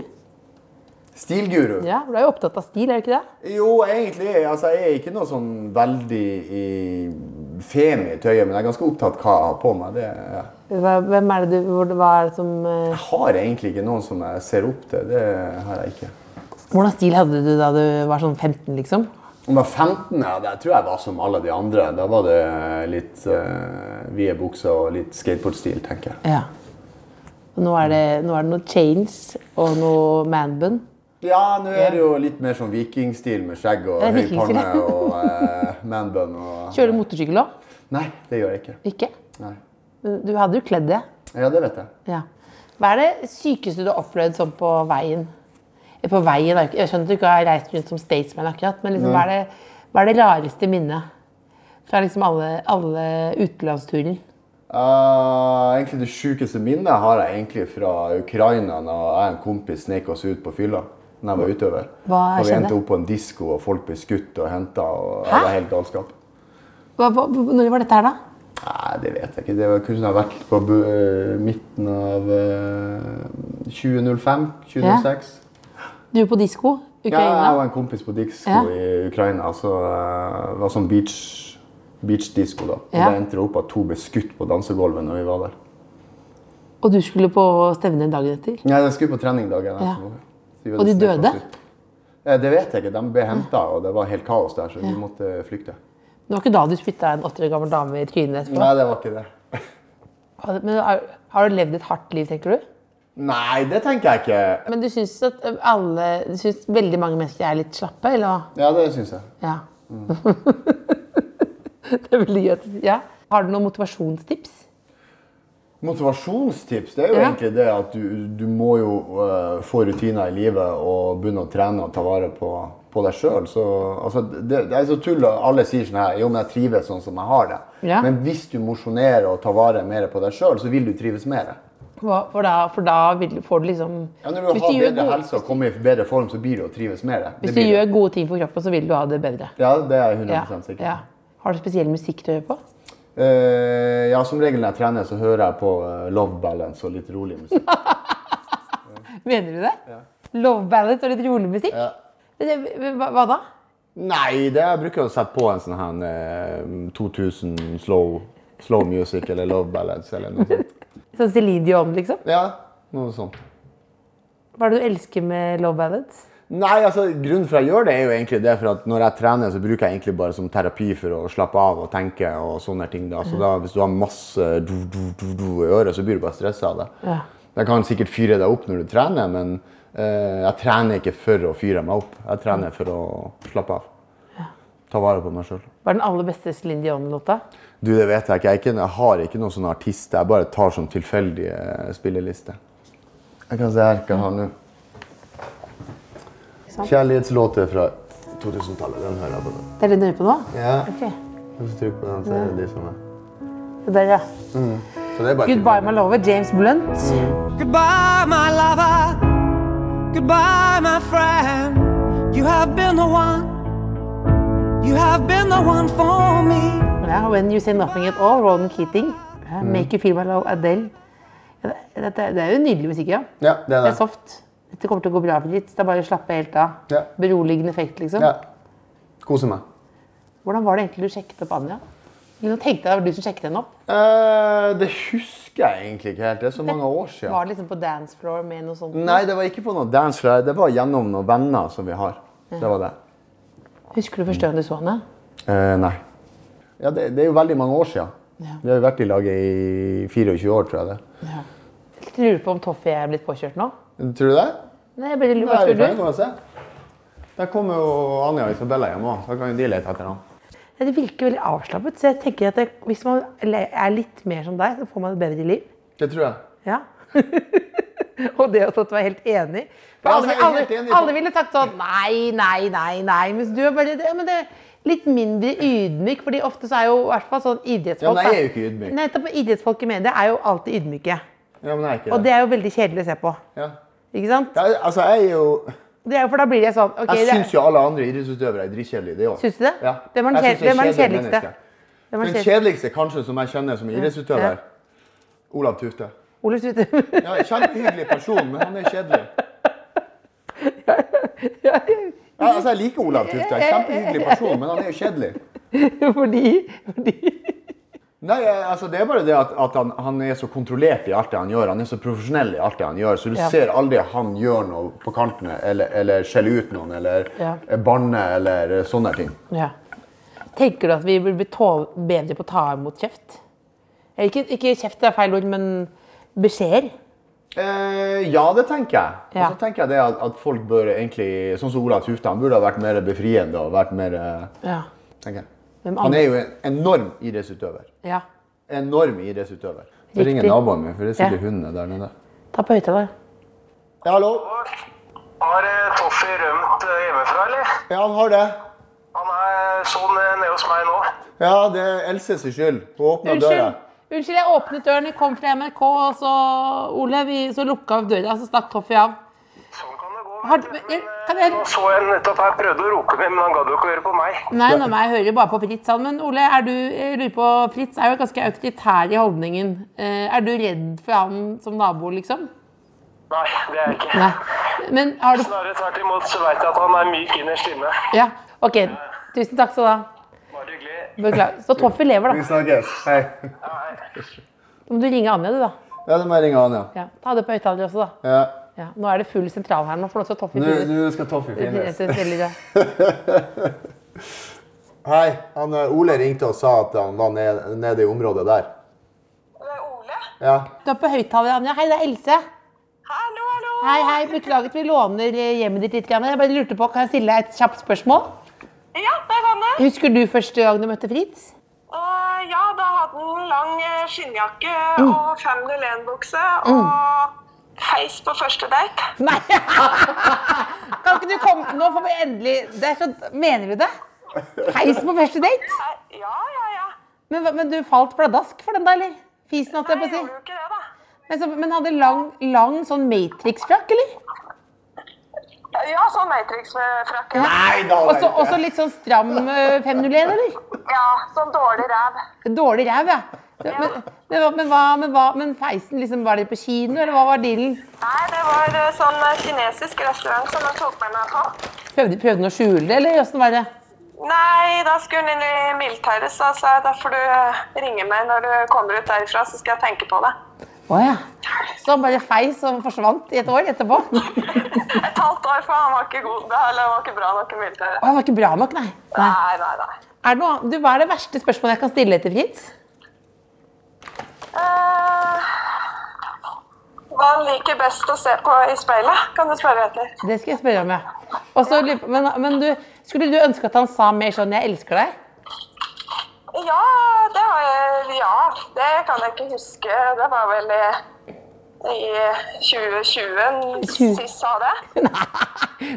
S4: Stilguru.
S3: Ja, for du er jo opptatt av stil, er du ikke det?
S4: Jo, egentlig. Altså, jeg er ikke noe sånn veldig i femi i tøyet, men jeg er ganske opptatt hva jeg har på meg. Det, ja.
S3: Hva, hvem er det du, hvor- hva er det som eh,
S4: Jeg har egentlig ikke noen som jeg ser opp til. Det har jeg ikke.
S3: Hvordan stil hadde du da du var sånn 15, liksom?
S4: Om jeg var 15, ja, da tror jeg jeg var som alle de andre. Da var det litt eh, vide bukser og litt skateboardstil, tenker jeg.
S3: Ja. Og nå er det, nå er det noe chains og noe manbun.
S4: Ja, nå er det jo litt mer sånn vikingstil med skjegg og
S3: Ja,
S4: høy
S3: vikingstil,
S4: panne
S3: ja.
S4: og eh, manbun og
S3: Kjører du motorsykkel òg?
S4: Nei, det gjør jeg ikke.
S3: Ikke?
S4: Nei.
S3: Men Du hadde jo kledd det.
S4: Ja, det vet jeg.
S3: Ja. Hva er det sykeste du har opplevd sånn på veien? Eh, På veien, er ikke- Jeg skjønner at du ikke har reist rundt som statesman akkurat, men liksom, hva, er det, hva er det rareste minnet fra liksom alle, alle utenlandsturer?
S4: Eh, egentlig Det sjukeste minnet har jeg egentlig fra Ukraina da jeg og en kompis snek oss ut på fylla. Når jeg var utøver.
S3: Hva
S4: og vi
S3: skjedde?
S4: endte opp på en disko, og folk ble skutt og henta. Og jeg var helt galskap.
S3: Hva, hva, hva- når var dette her, da?
S4: Nei, det vet jeg ikke. Det var kunne ha vært på bu eh, midten av eh, 2005? 2006?
S3: Du var på disko?
S4: Ja, jeg
S3: Ukraina?
S4: og en kompis på disko
S3: Ja.
S4: i Ukraina. Så eh, det var sånn beach beachdisko, da. Og
S3: Ja.
S4: Det endte opp at to ble skutt på dansegulvet når vi var der.
S3: Og du skulle på stevne dagen etter?
S4: Nei, de skulle på trening dagen
S3: Ja.
S4: etterpå. Så vi
S3: Og de
S4: hadde sneket
S3: døde?
S4: oss ut. Eh, Det vet jeg ikke. De ble henta, og det var helt kaos der, så vi måtte flykte.
S3: Det var ikke da du spytta en 80 år gammel dame i trynet etterpå?
S4: Nei, det var ikke det.
S3: Har- Men har, har du levd et hardt liv, tenker du?
S4: Nei, det tenker jeg ikke.
S3: Men du syns at alle Du syns veldig mange mennesker er litt slappe, eller hva?
S4: Ja, det syns jeg.
S3: Ja. det er veldig gøy at du sier ja. Har du noen motivasjonstips?
S4: Motivasjonstips det er jo
S3: Ja.
S4: egentlig det at du, du må jo eh, få rutiner i livet og begynne å trene og ta vare på, på deg sjøl. Altså, det, det er så tull at alle sier sånn her Jo, men jeg trives sånn som jeg har det.
S3: Ja.
S4: Men hvis du mosjonerer og tar vare mer på deg sjøl, så vil du trives mer.
S3: Hva- For da, for da vil, får du liksom
S4: Ja, når du
S3: Hvis
S4: har
S3: gjør
S4: bedre
S3: gode-
S4: helse og kommer i bedre form, så blir du å trives mer. Det
S3: Hvis du
S4: blir det.
S3: gjør gode ting for kroppen, så vil du ha det bedre.
S4: Ja, det er jeg 100
S3: Ja.
S4: sikker på.
S3: Ja. Har du spesiell musikk du hører på?
S4: Eh, ja, som regel når jeg trener, så hører jeg på eh, Love Balance og litt rolig musikk.
S3: Mener du det? Love ballad og litt rolig musikk?
S4: Ja.
S3: Det- Hva, hva da?
S4: Nei, det jeg bruker å sette på en sånn her eh, 2000 slow, slow music eller Love Ballads eller noe sånt.
S3: Sånn Celine Dion, liksom?
S4: Ja, noe sånt.
S3: Hva er det du elsker med love ballads?
S4: Nei, altså, grunnen for at jeg gjør det, er jo egentlig det for at når jeg trener, så bruker jeg egentlig bare som terapi for å slappe av og tenke og sånne ting. da. Så da, hvis du har masse du, du, du, du i øret, så blir du bare stressa av det.
S3: Ja.
S4: Det kan sikkert fyre deg opp når du trener, men eh, jeg trener ikke for å fyre meg opp. Jeg trener for å slappe av. Ta vare på meg sjøl.
S3: Hva er den aller beste Celine Dion-låta?
S4: Du, det vet jeg ikke. Jeg, er ikke, jeg har ikke noen sånne artister. Jeg bare tar sånn tilfeldige spillelister. Jeg kan se her hva jeg har nå. Kjærlighetslåter fra 2000-tallet. Den hører jeg på. nå.
S3: Det er den du hører på nå?
S4: Ja,
S3: Ok,
S4: Hvis du trykker på den, så er det de som er
S3: det der, ja.
S4: Så det er bare
S3: Goodbye, my lover, James Blunt.
S5: Goodbye, my lover. Goodbye, my friend. You have been the one. You have been the one for me.
S3: Ja, When You Say Nothing At All, Ronan Keating. Ja,
S4: Mm.
S3: Make You Feel My Love, Adele. Ja, det, det, det er jo nydelig musikk, ja.
S4: Ja, det er
S3: Det er
S4: det.
S3: soft. Dette kommer til å gå bra, Britt. Det er bare å slappe helt av.
S4: Ja.
S3: Beroligende effekt, liksom.
S4: Ja. Koser meg.
S3: Hvordan var det egentlig du sjekket opp Anja? Eller Nå tenkte jeg det var du som sjekket henne opp.
S4: Eh, det husker jeg egentlig ikke helt. Det er så mange år siden.
S3: Var det liksom på dance floor med noe sånt?
S4: Nei, det var ikke på noen dancefly. Det var gjennom noen venner som vi har. Det var det.
S3: Husker du første gang du så henne?
S4: Eh, nei. Ja, det, det er jo veldig mange år siden.
S3: Ja.
S4: Vi har jo vært i lag i 24 år, tror jeg det.
S3: Jeg lurer på om Toffee er blitt påkjørt nå.
S4: Tror du det?
S3: Nei, jeg bare lurer Hva
S4: Nei, vi
S3: tror
S4: kan
S3: du?
S4: jo se. Der kommer jo Anja og Isabella hjem òg, så kan jo de lete etter ham.
S3: Nei, Det virker veldig avslappet, så jeg tenker at det, hvis man le- er litt mer som deg, så får man et bedre liv.
S4: Det tror jeg.
S3: Ja. og det også at du er helt enig. For
S4: Ja,
S3: alle,
S4: altså, jeg er
S3: alle,
S4: helt enig.
S3: alle ville sagt sånn nei, nei, nei, nei. Mens du er bare ja, men det er litt mindre ydmyk. fordi ofte så er jo i hvert fall sånn
S4: Ja,
S3: idrettsfolk
S4: men jeg er jo
S3: da.
S4: ikke ydmyk.
S3: Nettopp idrettsfolk i media er jo alltid ydmyke.
S4: Ja, men jeg er ikke
S3: Og det er jo veldig kjedelig å se på.
S4: Ja.
S3: Ikke sant?
S4: Ja, altså, jeg er jo
S3: Det er jo, for da blir det sånn ok,
S4: Jeg
S3: det,
S4: syns jo alle andre idrettsutøvere er dritkjedelige, det òg.
S3: Syns du det?
S4: Ja.
S3: Hvem er den
S4: Jeg
S3: kjed-
S4: syns det
S3: hvem er den
S4: kjedelige
S3: kjedeligste?
S4: mennesker.
S3: det var
S4: Den
S3: kjedelig.
S4: kjedeligste kanskje som jeg kjenner som idrettsutøver,
S3: Ja.
S4: Olav Tufte.
S3: Ole Slutt.
S4: Ja, Kjempehyggelig person, men han er kjedelig. Ja, altså, jeg liker Olav Tufte. Kjempehyggelig person, men han er jo kjedelig.
S3: fordi, fordi
S4: Nei, jeg- altså Det er bare det at, at han, han er så kontrollert i alt det han gjør. Han er så profesjonell i alt det han gjør. Så du
S3: Ja.
S4: ser aldri han gjør noe på kantene, eller, eller skjeller ut noen, eller
S3: Ja.
S4: eh, banner, eller eh, sånne ting.
S3: Ja. Tenker du at vi burde bli tål- bedre på å ta imot kjeft? Eller Ikke, ikke kjeft det er feil ord, men beskjeder.
S4: Eh, ja, det tenker jeg.
S3: Ja.
S4: Og så tenker jeg det at, at folk bør egentlig Sånn som Olav Tufte, han burde ha vært mer befriende og vært mer eh,
S3: Ja.
S4: tenker jeg.
S3: Hvem
S4: Han
S3: andre?
S4: er jo en enorm idrettsutøver.
S3: ja.
S4: Enorm idrettsutøver. Jeg ringer
S3: Riktig.
S4: naboen min, for det er sikkert
S3: Ja.
S4: hundene der nede.
S3: Ta på høyttaler.
S4: Ja, hallo?
S6: Har eh, Toffi rømt eh, hjemmefra, eller?
S4: Ja, han har det.
S6: Han er sånn eh, nede hos meg nå.
S4: Ja, det er Elses skyld. Hun åpna døra.
S3: Unnskyld. Unnskyld, jeg åpnet døren, jeg kom fra NRK, og så Ole, vi, så lukka vi døra, så stakk Toffi av.
S6: Sånn kan det gå.
S3: Har-
S6: vet du.
S3: men-
S6: Men, eh,
S3: kan jeg-
S6: Nå så jeg nettopp her prøvde å rope min, men han gadd jo ikke å høre på meg.
S3: Nei, nå, men jeg hører jo bare på Fritz. han. Men Ole, er du, jeg lurer på, Fritz er jo ganske autoritær i holdningen. Eh, Er du redd for han som nabo, liksom?
S6: Nei, det er jeg ikke.
S3: Nei. Men har du
S6: Snarere tvert imot så veit jeg at han er myk innerst inne.
S3: Ja, OK. Tusen takk skal du ha.
S6: Bare hyggelig.
S3: Beklager. Så Toffi lever, da.
S4: snakkes. Hei.
S3: Da må du ringe Anja, du, da.
S4: Ja, det må jeg ringe Anja.
S3: Ja. Ta det på høyttaler også, da.
S4: Ja.
S3: Ja. Nå er det full sentral her nå, for nå skal Toffi
S4: Nå
S3: finnes.
S4: nå skal Toffi
S3: Jeg
S4: finnes.
S3: synes veldig det.
S4: Hei. Han, eh, Ole ringte og sa at han var nede, nede i området der. Ole? Ja.
S3: Du er på høyttaler, Anja. Hei, det er Else.
S7: Hallo, hallo!
S3: Hei, hei. Beklager at vi låner eh, hjemmet ditt litt. grann. Jeg bare lurte på, Kan jeg stille deg et kjapt spørsmål?
S7: Ja, der kan det.
S3: Husker du første gang du møtte Fritz?
S7: Og ja, da hadde han lang eh, skinnjakke og 501-bukse og feis på første date.
S3: Nei! Kan ikke du komme Nå får vi endelig det er så, Mener du det? Feis på første date?
S7: Nei, Ja, ja, ja.
S3: Men, hva- men du falt pladask for den, da, eller? Fisen, holdt jeg på
S7: Jeg
S3: å si.
S7: gjorde jo ikke det, da.
S3: Men, så, Altså, men hadde lang, lang sånn Matrix-frakk, eller?
S7: Ja, sånn Matrix-frakk. Ja.
S4: Nei da,
S3: Også,
S4: vet jeg.
S3: også litt sånn stram eh, 501, eller?
S7: ja, sånn dårlig ræv.
S3: Dårlig ræv, ja. Men, men, hva- men, hva, men, hva, men feisen, liksom, var dere på kino, eller hva var dealen?
S7: Nei, det var eh, sånn eh, kinesisk restaurant som han tok med meg på.
S3: Prøvde prøvde han å skjule det, eller åssen var det?
S7: Nei, da skulle han inn i Milteiris, da sa jeg da får du eh, ringe meg når du kommer ut derifra, så skal jeg tenke på det.
S3: Å ja. Så han bare feis og forsvant i et år etterpå? Å,
S7: Et halvt år, for han var ikke god, da, eller han var ikke bra nok i Milteiris.
S3: han var ikke bra nok, nei. nei.
S7: Nei, nei, nei.
S3: Er det noe, du, hva er det verste spørsmålet jeg kan stille til Fritz?
S7: Eh, Hva han liker best å se på i speilet, kan du spørre etter.
S3: Det skal jeg spørre om, ja. Og så lurer jeg på- men men du, skulle du ønske at han sa mer sånn 'jeg elsker deg'?
S7: Ja, det har jeg Ja, det kan jeg ikke huske. Det var vel i, i 2020
S3: Tjue.
S7: sist sa det.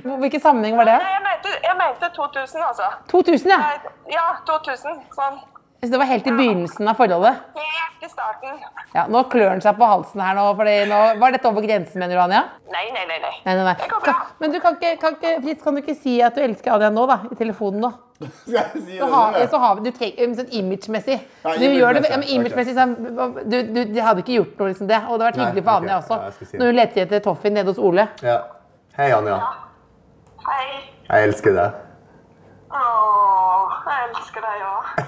S3: Hvor- Hvilken sammenheng var det?
S7: Nei, jeg mente, jeg mente 2000, altså.
S3: 2000, ja.
S7: Nei, Ja, 2000. Sånn
S3: Så det var helt i begynnelsen av forholdet.
S7: helt i starten.
S3: Ja, Nå klør han seg på halsen her nå, fordi nå var dette over grensen, mener du, Anja?
S7: Nei, nei, nei. nei.
S3: Nei, nei, nei.
S7: Det går bra.
S3: Kan- Men du kan ikke, kan ikke, Fritz, kan du ikke si at du elsker Anja nå, da? I telefonen nå?
S4: Skal jeg si
S3: Så
S4: det
S3: har,
S4: til
S3: så
S4: deg?
S3: har vi, du trenger sånn imagemessig.
S4: Ja,
S3: Du gjør det
S4: imagemessig,
S3: ja, men imagemessig sånn, du, du, de hadde ikke gjort noe liksom det, og det hadde vært
S4: Nei,
S3: hyggelig for
S4: ok.
S3: Anja også.
S4: Ja, jeg skal si det.
S3: Når hun leter etter Toffin nede hos Ole.
S4: Ja. Hei, Anja.
S7: Hei.
S4: Jeg elsker deg.
S7: Åh, jeg elsker deg òg.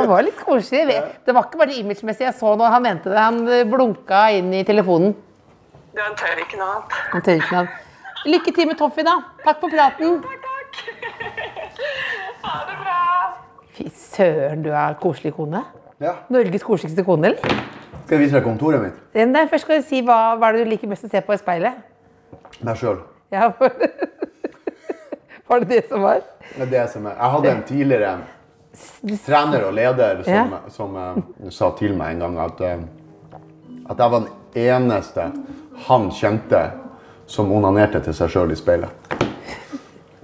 S3: Det var litt koselig. Vi- Det var ikke bare imagemessig. Jeg så når han mente det. Han eh, blunka inn i telefonen.
S7: Du han tør ikke noe annet.
S3: Han tør ikke navn. Lykke til med Toffi, da. Takk for praten.
S7: Ha det bra.
S3: Fy søren, du er koselig kone.
S4: Ja.
S3: Norges koseligste kone, eller?
S4: Skal jeg vise deg kontoret mitt?
S3: Nei, først skal du si hva, hva er det du liker best å se på i speilet.
S4: Meg sjøl.
S3: Ja, for... Var det det som var?
S4: Det er det som er. Jeg hadde en tidligere trener og leder som,
S3: Ja.
S4: som eh, sa til meg en gang at, eh, at jeg var den eneste han kjente som onanerte til seg sjøl i speilet.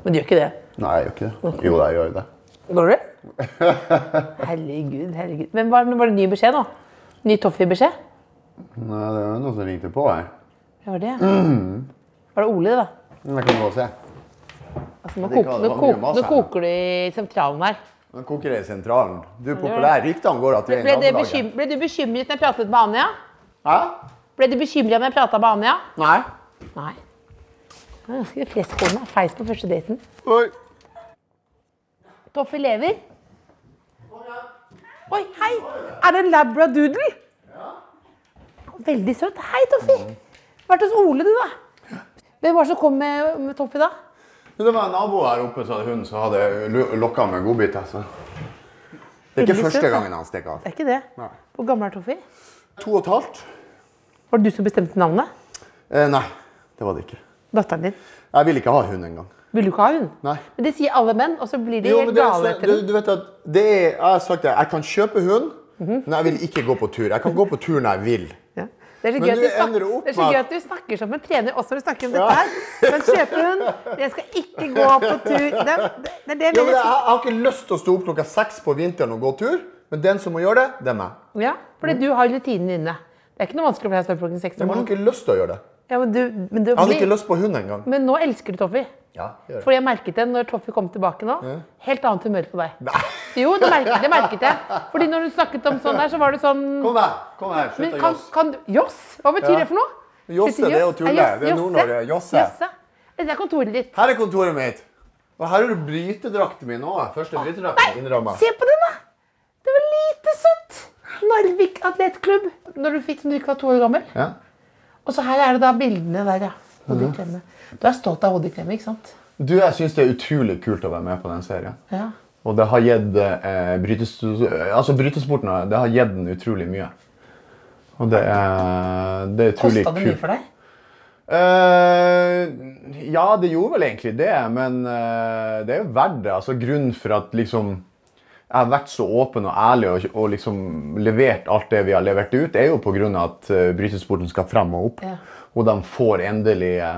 S3: Men du gjør ikke det.
S4: Nei, jeg gjør ikke det. Jo, jeg gjør jo det.
S3: Går du? Herregud, herregud. Men var, var det ny beskjed nå? Ny Toffi-beskjed?
S4: Nei, det er noen som ringte på her.
S3: Ja, var det
S4: Mm.
S3: Var det Ole, da?
S4: Men Jeg kan gå og se.
S3: Altså, nå,
S4: Det kan-
S3: koker, nå,
S4: det var mye
S3: koker,
S4: mas
S3: nå
S4: her nå.
S3: koker du i sentralen her.
S4: Nå koker det i sentralen. Du er populær. Ryktene går at du er i
S3: Ble, det
S4: nabolaget.
S3: bekym ble du bekymret når jeg pratet med Anja?
S4: Hæ?
S3: Ble du bekymret når jeg pratet med Anja?
S4: Nei.
S3: Nei. Det er ganske flest kone. Feis på første daten.
S4: Oi.
S3: Toffe lever. Oi, hei! Er det en labradoodle? Veldig søt. Hei, Toffi! Vært hos Ole, du, da. Hvem var det som kom med, med Toffi da?
S4: Men Det var en nabo her oppe som hadde hund som hadde lo- lokka med godbit. Altså. Det er
S3: Veldig
S4: ikke første
S3: søt, da.
S4: gangen han stikker av.
S3: Det er ikke det.
S4: Nei.
S3: Hvor gammel er Toffi?
S4: To og et halvt?
S3: Var det du som bestemte navnet?
S4: Eh, nei, det var det ikke.
S3: Datteren din.
S4: Jeg vil ikke ha hund engang.
S3: Vil du ikke ha hund?
S4: Nei.
S3: Men det sier alle menn, og så blir de
S4: Jo, men
S3: helt
S4: det er
S3: gale
S4: så-
S3: etter
S4: du,
S3: den.
S4: du vet at det er, jeg har sagt det, jeg kan kjøpe hund, Nei, jeg vil ikke gå på tur. Jeg kan gå på tur når jeg vil.
S3: Mhm. Ja. Det er så
S4: Men
S3: gøy at
S4: du
S3: du snak-
S4: ender opp
S3: det er så
S4: med
S3: gøy
S4: at-
S3: at du snakker som en trener også når du snakker om
S4: Ja.
S3: dette her. Men kjøpehund, jeg skal ikke gå på tur. Det, det, det er det
S4: Ja, men jeg,
S3: jeg,
S4: jeg har ikke lyst til å stå opp klokka seks på vinteren og gå tur, men den som må gjøre det, det er meg.
S3: ja, fordi du har rutinen inne. Det er ikke noe vanskelig for deg å stå opp klokken seks om
S4: Men jeg har
S3: morgenen.
S4: ikke lyst til å gjøre det.
S3: Ja, men, du, men, du
S4: Jeg hadde ikke
S3: blir,
S4: lyst på hund engang.
S3: men nå elsker du Toffi.
S4: Ja, gjør det.
S3: Fordi jeg merket det når Toffi kom tilbake nå. Helt annet humør på deg.
S4: Nei.
S3: Jo, det merket, det merket jeg. Fordi når du snakket om sånn der, så var det sånn
S4: Kom her, kom her,
S3: Men
S4: slutt å
S3: kan,
S4: jås.
S3: kan du- Joss? Hva betyr
S4: Ja.
S3: det for noe?
S4: Josse,
S3: Sitter
S4: det er jo
S3: Joss?
S4: tulle.
S3: Joss-
S4: Det er
S3: Josse?
S4: Nord-Norge. Josse.
S3: Josse. Det er kontoret ditt.
S4: Her er kontoret mitt. Og her er det brytedrakten min òg. Første brytedrakten innramma.
S3: Se på den, da! Det var lite søtt! Narvik atletklubb. Når du fikk den du ikke var to år gammel.
S4: Ja.
S3: Og så her er det da bildene der, ja. Hodeklemme. Du er stolt av hodeklemme, ikke sant?
S4: Du, jeg syns det er utrolig kult å være med på den serien.
S3: Ja.
S4: Og det har gitt eh, brytes, altså brytesporten har- det har gitt den utrolig mye. Og det er, det er utrolig
S3: Kosta
S4: kult.
S3: det mye for deg?
S4: Eh, ja, det gjorde vel egentlig det, men eh, det er jo verdt det. Altså, grunnen for at liksom, jeg har vært så åpen og ærlig og, og liksom levert alt det vi har levert ut, er jo pga. at eh, brytesporten skal fram og opp.
S3: Ja.
S4: Og de får endelig eh,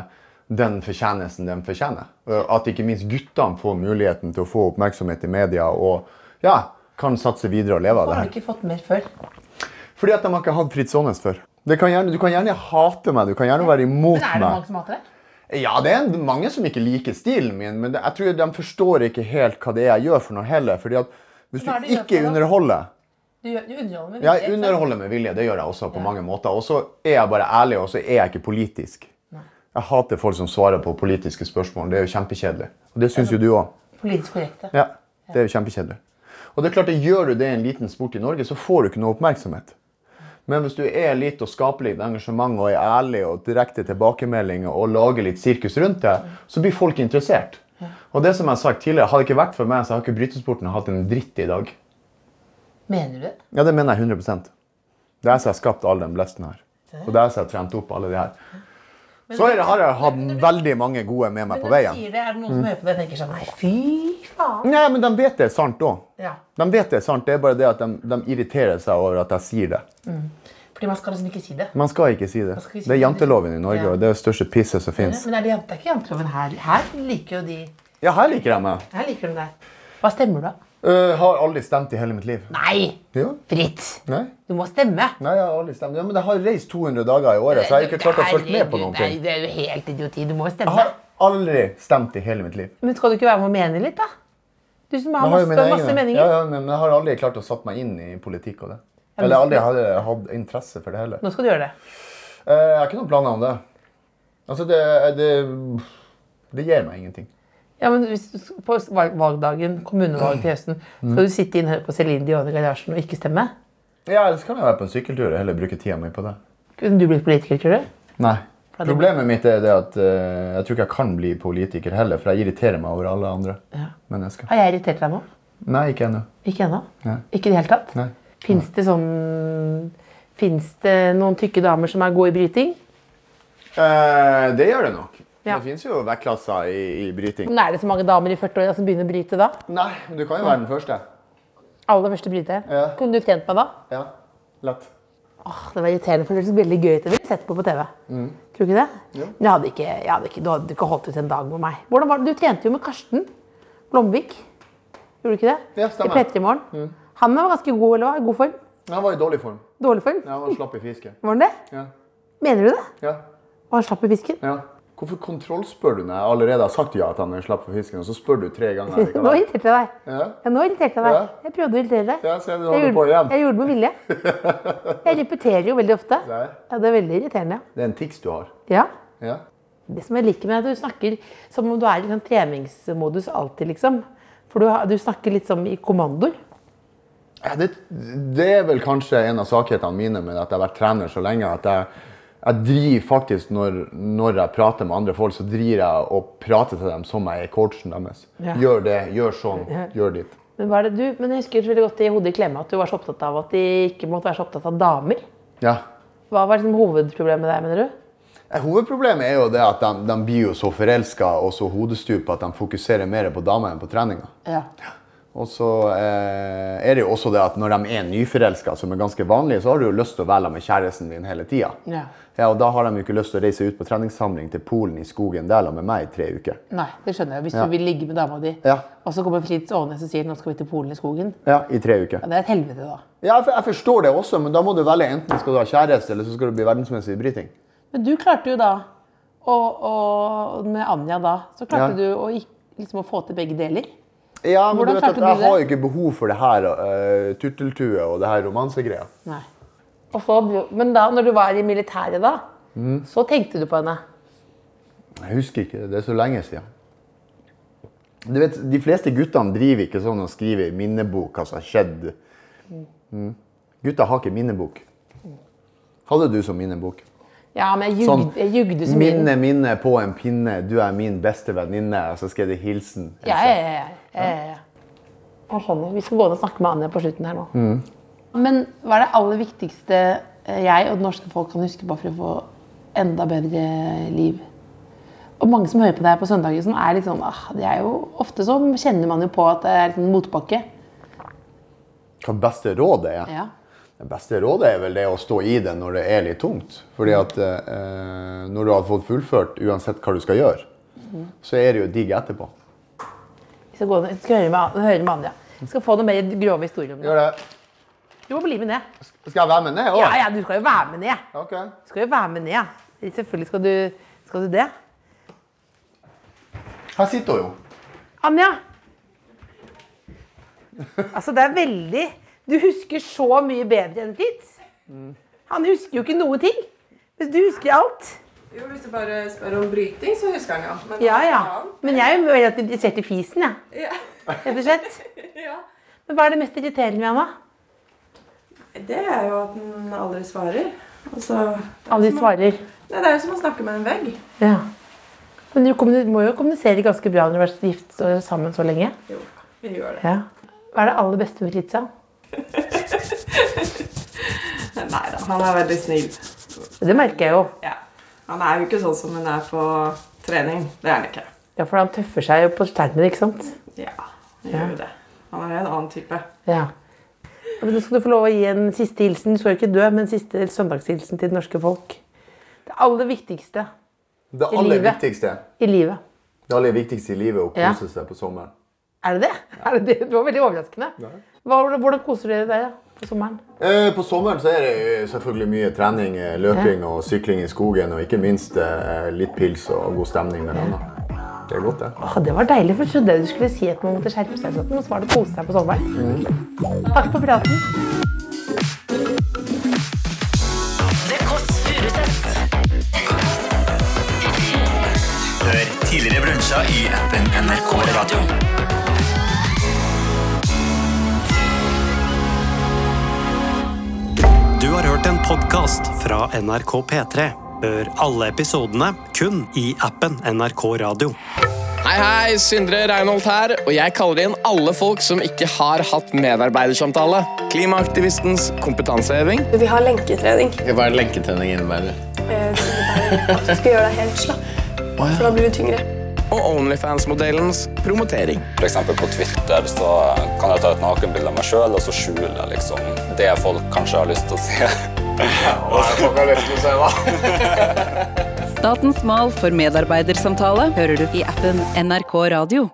S4: den fortjenesten de fortjener. Eh, at ikke minst guttene får muligheten til å få oppmerksomhet i media og ja, kan satse videre og leve av
S3: Hvorfor
S4: det
S3: har
S4: her.
S3: du ikke fått mer før?
S4: Fordi at de har ikke hatt Fritz Aanes før. Det kan gjerne, du kan gjerne hate meg, du kan gjerne være imot
S3: Men er det
S4: meg.
S3: mange som hater deg?
S4: Ja, det er en- mange som ikke liker stilen min, men det, jeg tror de forstår ikke helt hva det er jeg gjør for noe heller. fordi at hvis du
S3: Hva er det du gjør for
S4: ikke
S3: noe?
S4: underholder
S3: Du, gjør- du underholder med
S4: Jeg
S3: ikke sant?
S4: underholder med vilje, det gjør jeg også på mange måter. Og så er jeg bare ærlig, og så er jeg ikke politisk. Jeg hater folk som svarer på politiske spørsmål. Det er jo kjempekjedelig. Og det syns jo du òg.
S3: Politisk korrekte.
S4: Ja, det er jo kjempekjedelig. Og det er klart, det gjør du det i en liten sport i Norge, så får du ikke noe oppmerksomhet. Men hvis du er litt og skaper litt engasjement og er ærlig og direkte tilbakemeldinger og lager litt sirkus rundt det, så blir folk interessert. Og det som jeg har sagt tidligere, hadde det ikke vært for meg, så hadde ikke brytesporten hatt en dritt i dag.
S3: Mener du det?
S4: Ja, det mener jeg 100 Det er jeg som har skapt all den blesten her. Og det er jeg som har trent opp alle de her. Så er det- har jeg hatt veldig mange gode med meg på Mm.
S3: Men når du
S4: veien.
S3: sier det, er det noen som hører på det og tenker sånn Nei, fy faen.
S4: Nei, men de vet det er sant òg.
S3: Ja.
S4: De vet det er sant, det er bare det at de, de irriterer seg over at jeg sier det.
S3: Fordi man skal liksom ikke si det.
S4: Man skal ikke si det.
S3: skal ikke si
S4: Det er
S3: det.
S4: janteloven i Norge,
S3: Ja.
S4: og det er det største pisset som fins.
S3: Men er det, jante- det er ikke janteloven her. Her liker jo de
S4: Ja, her liker jeg meg.
S3: Her liker de deg. Hva stemmer du, da?
S4: Øh, har aldri stemt i hele mitt liv.
S3: Nei!
S4: Jo.
S3: Fritz!
S4: Nei.
S3: Du må stemme.
S4: Nei, jeg har aldri stemt. Ja, men jeg har reist 200 dager i året, så jeg har ikke klart å følge med på noen
S3: Herregud,
S4: ting.
S3: Nei, det er jo helt idioti. Du må jo
S4: Jeg
S3: stemme.
S4: har aldri stemt i hele mitt liv.
S3: Men skal du ikke være med og mene litt, da? Du som har,
S4: Jeg har jo
S3: masse,
S4: mine
S3: masse
S4: egne.
S3: meninger.
S4: Ja, ja, men jeg har aldri klart å satt meg inn i politikk og det. Eller jeg aldri har hatt interesse for det heller.
S3: Nå skal du gjøre det.
S4: Eh, Jeg har ikke noen planer om det. Altså, det Det, det gir meg ingenting.
S3: Ja, men hvis, du- På valg- valgdagen, kommunevalget til høsten,
S4: Mm.
S3: skal du sitte inn og høre på Celine Dion i garasjen og ikke stemme?
S4: Ja, ellers kan jeg være på en sykkeltur og heller bruke tida mi på det.
S3: Kunne du blitt politiker, tror du?
S4: Nei.
S3: det-
S4: Problemet mitt er det at eh, jeg tror ikke jeg kan bli politiker heller, for jeg irriterer meg over alle andre
S3: Ja.
S4: mennesker.
S3: Har jeg irritert deg nå?
S4: Nei, ikke ennå.
S3: Ikke ennå?
S4: Nei.
S3: Ikke i det hele tatt?
S4: Nei.
S3: Fins det sånn Fins det noen tykke damer som er gode i bryting?
S4: Eh, det gjør det nok.
S3: Ja.
S4: Det fins jo vektklasser i, i bryting.
S3: Men er det så mange damer i 40-åra som begynner å bryte da?
S4: Nei, men du kan jo være den første.
S3: Aller første bryter.
S4: Ja.
S3: Kunne du trent meg da?
S4: Ja, lett.
S3: Åh, det var irriterende, for det er veldig gøy til det. Sett på på TV.
S4: Mm.
S3: Tror du ikke det? Men Jeg hadde ikke, jeg hadde ikke, du hadde ikke holdt ut en dag med meg. Hvordan var det? Du trente jo med Karsten Blomvik. Gjorde du ikke det?
S4: Ja, stemmer. Mm.
S3: I P3 Morgen. Han var ganske god, eller hva? I god form?
S4: Han var i dårlig form.
S3: Dårlig form?
S4: Ja, Han var slapp i fisken.
S3: Var han det?
S4: Ja.
S3: Mener du det?
S4: Ja.
S3: Og han slapp i fisken?
S4: ja. Hvorfor kontrollspør du når jeg allerede har sagt ja at han er slapp for fisken, og så spør du tre ganger?
S3: Nå
S4: likevel?
S3: irriterte jeg deg.
S4: Ja.
S3: Ja, nå irriterte jeg deg.
S4: Ja.
S3: Jeg prøvde å irritere deg.
S4: Ja, se, du
S3: jeg,
S4: holder på
S3: gjorde,
S4: igjen.
S3: jeg gjorde det med vilje. Jeg repeterer jo veldig ofte.
S4: Nei.
S3: Ja, det er veldig irriterende.
S4: Det er en tics du har.
S3: Ja.
S4: Ja.
S3: Det som jeg liker med deg, er at du snakker som om du er i sånn treningsmodus alltid, liksom. For du, har- du snakker litt som i kommandoer.
S4: Ja, det, det er vel kanskje en av svakhetene mine med at jeg har vært trener så lenge. at jeg, jeg driver faktisk når, når jeg prater med andre folk, så driver jeg og prater til dem som jeg er coachen deres.
S3: Ja.
S4: Gjør det, gjør sånn, gjør ditt.
S3: Men, hva er det du, men jeg husker veldig godt i hodet i klemme at du var så opptatt av at de ikke måtte være så opptatt av damer.
S4: Ja.
S3: Hva var liksom hovedproblemet med deg, mener du?
S4: Eh, Hovedproblemet er jo det at de, de blir jo så forelska og så hodestupa at de fokuserer mer på damer enn på treninga.
S3: Ja.
S4: Og så eh, er det jo også det at når de er nyforelska, som er ganske vanlig, så har du jo lyst til å være sammen med kjæresten din hele tida.
S3: Ja.
S4: og da har de jo ikke lyst til å reise ut på treningssamling til Polen i skogen der sammen med meg i tre uker.
S3: Nei, det skjønner jeg. Hvis
S4: Ja.
S3: du vil ligge med dama di,
S4: Ja.
S3: og så kommer Fritz Aanes og sier nå skal vi til Polen i skogen.
S4: Ja, i tre uker.
S3: Ja, det er et helvete, da.
S4: Ja, jeg for- jeg forstår det også, men da må du velge enten skal du ha kjæreste, eller så skal du bli verdensmester i bryting.
S3: Men du klarte jo da, og, og med Anja da, så klarte
S4: Ja.
S3: du å, ikk- liksom, å få til begge deler.
S4: Ja, men
S3: Hvordan
S4: du vet at
S3: klarte du
S4: jeg
S3: det?
S4: har jo ikke behov for det her eh, turteltue og det her romansegreia.
S3: Nei. Og så, men da, når du var i militæret da, så tenkte du på henne.
S4: Jeg husker ikke, det er så lenge siden. Du vet, de fleste guttene driver ikke sånn og skriver i minnebok hva som har skjedd. Mm. Gutta har ikke minnebok. Hadde du som minnebok?
S3: Ja, men jeg
S4: Sånn,
S3: jugde, jeg jugde så mye.
S4: Minne, minne på en pinne, du er min beste venninne, og så skrev de hilsen.
S3: Ja, ja, ja, ja, ja, ja, ja. Jeg skjønner. Vi skal gå ned og snakke med Anja på slutten her nå. Men hva er det aller viktigste eh, jeg og det norske folk kan huske på for å få enda bedre eh, liv? Og mange som hører på deg på søndager, som er litt sånn ah, det er jo Ofte så kjenner man jo på at det er litt en motbakke.
S4: Hva beste rådet er?
S3: Ja.
S4: Det beste rådet er vel det å stå i det når det er litt tungt. Fordi at eh, når du har fått fullført, uansett hva du skal gjøre,
S3: Mhm.
S4: så er det jo digg etterpå.
S3: Vi skal, gå ned, vi skal høre, med, høre med Anja. Vi skal få noen mer grove historier om det.
S4: Gjør det.
S3: Du må bli med ned.
S4: Skal jeg være med ned? også?
S3: Ja, ja, du skal jo være med ned.
S4: Ok.
S3: Du skal jo være med ned. Selvfølgelig skal du, skal du det.
S4: Her sitter hun jo.
S3: Anja! Altså, det er veldig Du husker så mye bedre enn Fritz. Han husker jo ikke noen ting. Mens du husker alt.
S8: Jo, hvis du bare spør om bryting, så husker han ja. Men
S3: Ja, ja.
S8: alt
S3: Men jeg er jo veldig interessert i fisen, jeg.
S8: annet-
S3: Rett og slett.
S8: Ja.
S3: Men hva er det mest irriterende med han, da?
S8: ja. Det er jo at han aldri svarer. Altså, det, er
S3: Alle
S8: jo
S3: de
S8: som å,
S3: svarer.
S8: Nei, det er jo som å snakke med en vegg.
S3: Ja. Men du kommuni- må jo kommunisere ganske bra når du har vært gift og sammen så lenge.
S8: Jo, vi gjør det.
S3: Ja. Hva er det aller beste med Fritz? da?
S8: Nei da, han er veldig snill.
S3: Det merker jeg jo.
S8: Ja. Han er jo ikke sånn som han er på trening. Det er han ikke.
S3: Ja, For han tøffer seg jo på skjermen, ikke sant?
S8: Ja, han gjør jo det. Han er en annen type.
S3: Ja. Men nå skal du få lov å gi en siste hilsen. Du skal jo ikke dø, men en siste søndagshilsen til det norske folk. Det aller viktigste
S4: Det
S3: I
S4: aller
S3: livet.
S4: viktigste
S3: i livet.
S4: Det aller viktigste i livet er å
S3: Ja.
S4: kose seg på sommeren.
S3: Er det det? Er det, det? det var veldig overraskende. Hva, hvordan koser dere dere på sommeren?
S4: Eh, På sommeren så er det eh, selvfølgelig mye trening, eh, løping og sykling i skogen, og ikke minst eh, litt pils og god stemning med venner. Det er godt, det.
S3: Åh, det var deilig, for jeg trodde du skulle si at man måtte skjerpe seg, sånn, men så var det kose seg på sommeren. Takk for praten.
S2: Det Kåss Furuseths.
S9: Hør tidligere brunsja i appen NRK Radio.
S1: Du har hørt en podkast fra NRK P3. Hør alle episodene kun i appen NRK Radio.
S10: Hei, hei, Sindre Reinholt her, og jeg kaller inn alle folk som ikke har hatt medarbeidersamtale. Klimaaktivistens kompetanseheving.
S11: Vi har lenketrening.
S10: Hva er lenketrening innebærer?
S11: Eh, Det innebærer at du skal gjøre deg helt slapp, for da blir du tyngre.
S10: Og Onlyfans-modellens promotering.
S9: For eksempel på Twitter så kan jeg ta et nakenbilde av meg sjøl, og så skjule jeg liksom det folk kanskje har lyst til å se.
S11: Statens mal for medarbeidersamtale hører du i appen NRK Radio.